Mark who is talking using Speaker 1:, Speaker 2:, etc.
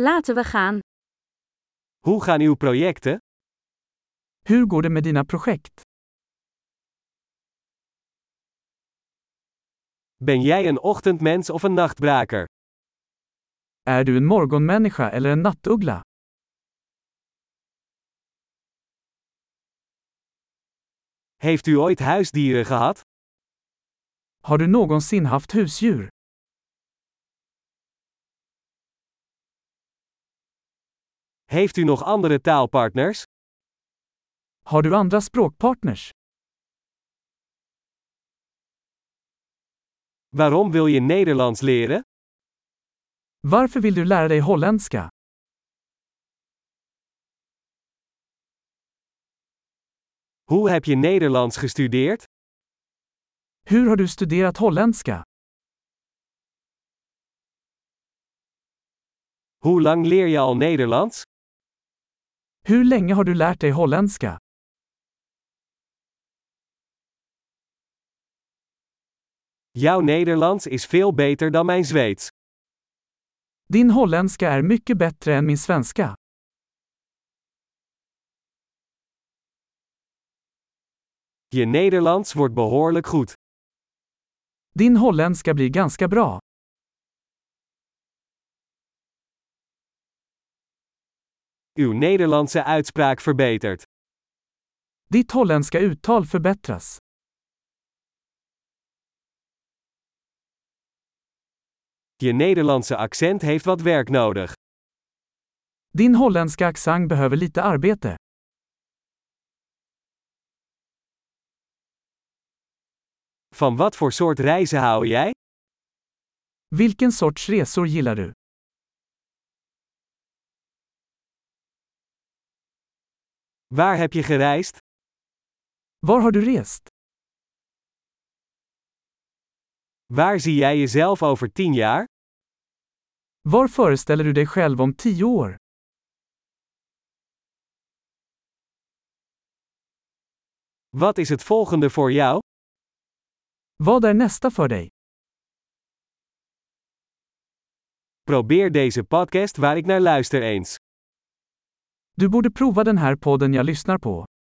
Speaker 1: Laten we gaan.
Speaker 2: Hoe gaan uw projecten?
Speaker 3: Hur går det med dina projekt?
Speaker 2: Ben jij een ochtendmens of een nachtbraker?
Speaker 3: Är du en morgonmänniska eller en nattuggla?
Speaker 2: Heeft u ooit huisdieren gehad?
Speaker 3: Har du någonsin haft husdjur?
Speaker 2: Heeft u nog andere taalpartners?
Speaker 3: Har du andra språkpartners?
Speaker 2: Waarom wil je Nederlands leren?
Speaker 3: Varför vill du lära dig holländska?
Speaker 2: Hoe heb je Nederlands gestudeerd?
Speaker 3: Hur har du studerat holländska?
Speaker 2: Hoe lang leer je al Nederlands?
Speaker 3: Hur länge har du lärt dig holländska?
Speaker 2: Jouw Nederlands is veel beter dan mijn Zweeds.
Speaker 3: Din holländska är mycket bättre än min svenska.
Speaker 2: Je Nederlands wordt behoorlijk goed.
Speaker 3: Din holländska blir ganska bra.
Speaker 2: Uw Nederlandse uitspraak verbetert.
Speaker 3: Ditt holländska uttal förbättras.
Speaker 2: Je Nederlandse accent heeft wat werk nodig.
Speaker 3: Din holländska accent behöver lite arbete.
Speaker 2: Van wat voor soort reizen hou jij?
Speaker 3: Vilken sorts resor gillar du?
Speaker 2: Waar heb je gereisd?
Speaker 3: Var har du rest?
Speaker 2: Waar zie jij jezelf over 10 jaar?
Speaker 3: Var föreställer du dig själv om tio år?
Speaker 2: Wat is het volgende voor jou?
Speaker 3: Vad är nästa för dig?
Speaker 2: Probeer deze podcast waar ik naar luister eens.
Speaker 3: Du borde prova den här podden jag lyssnar på.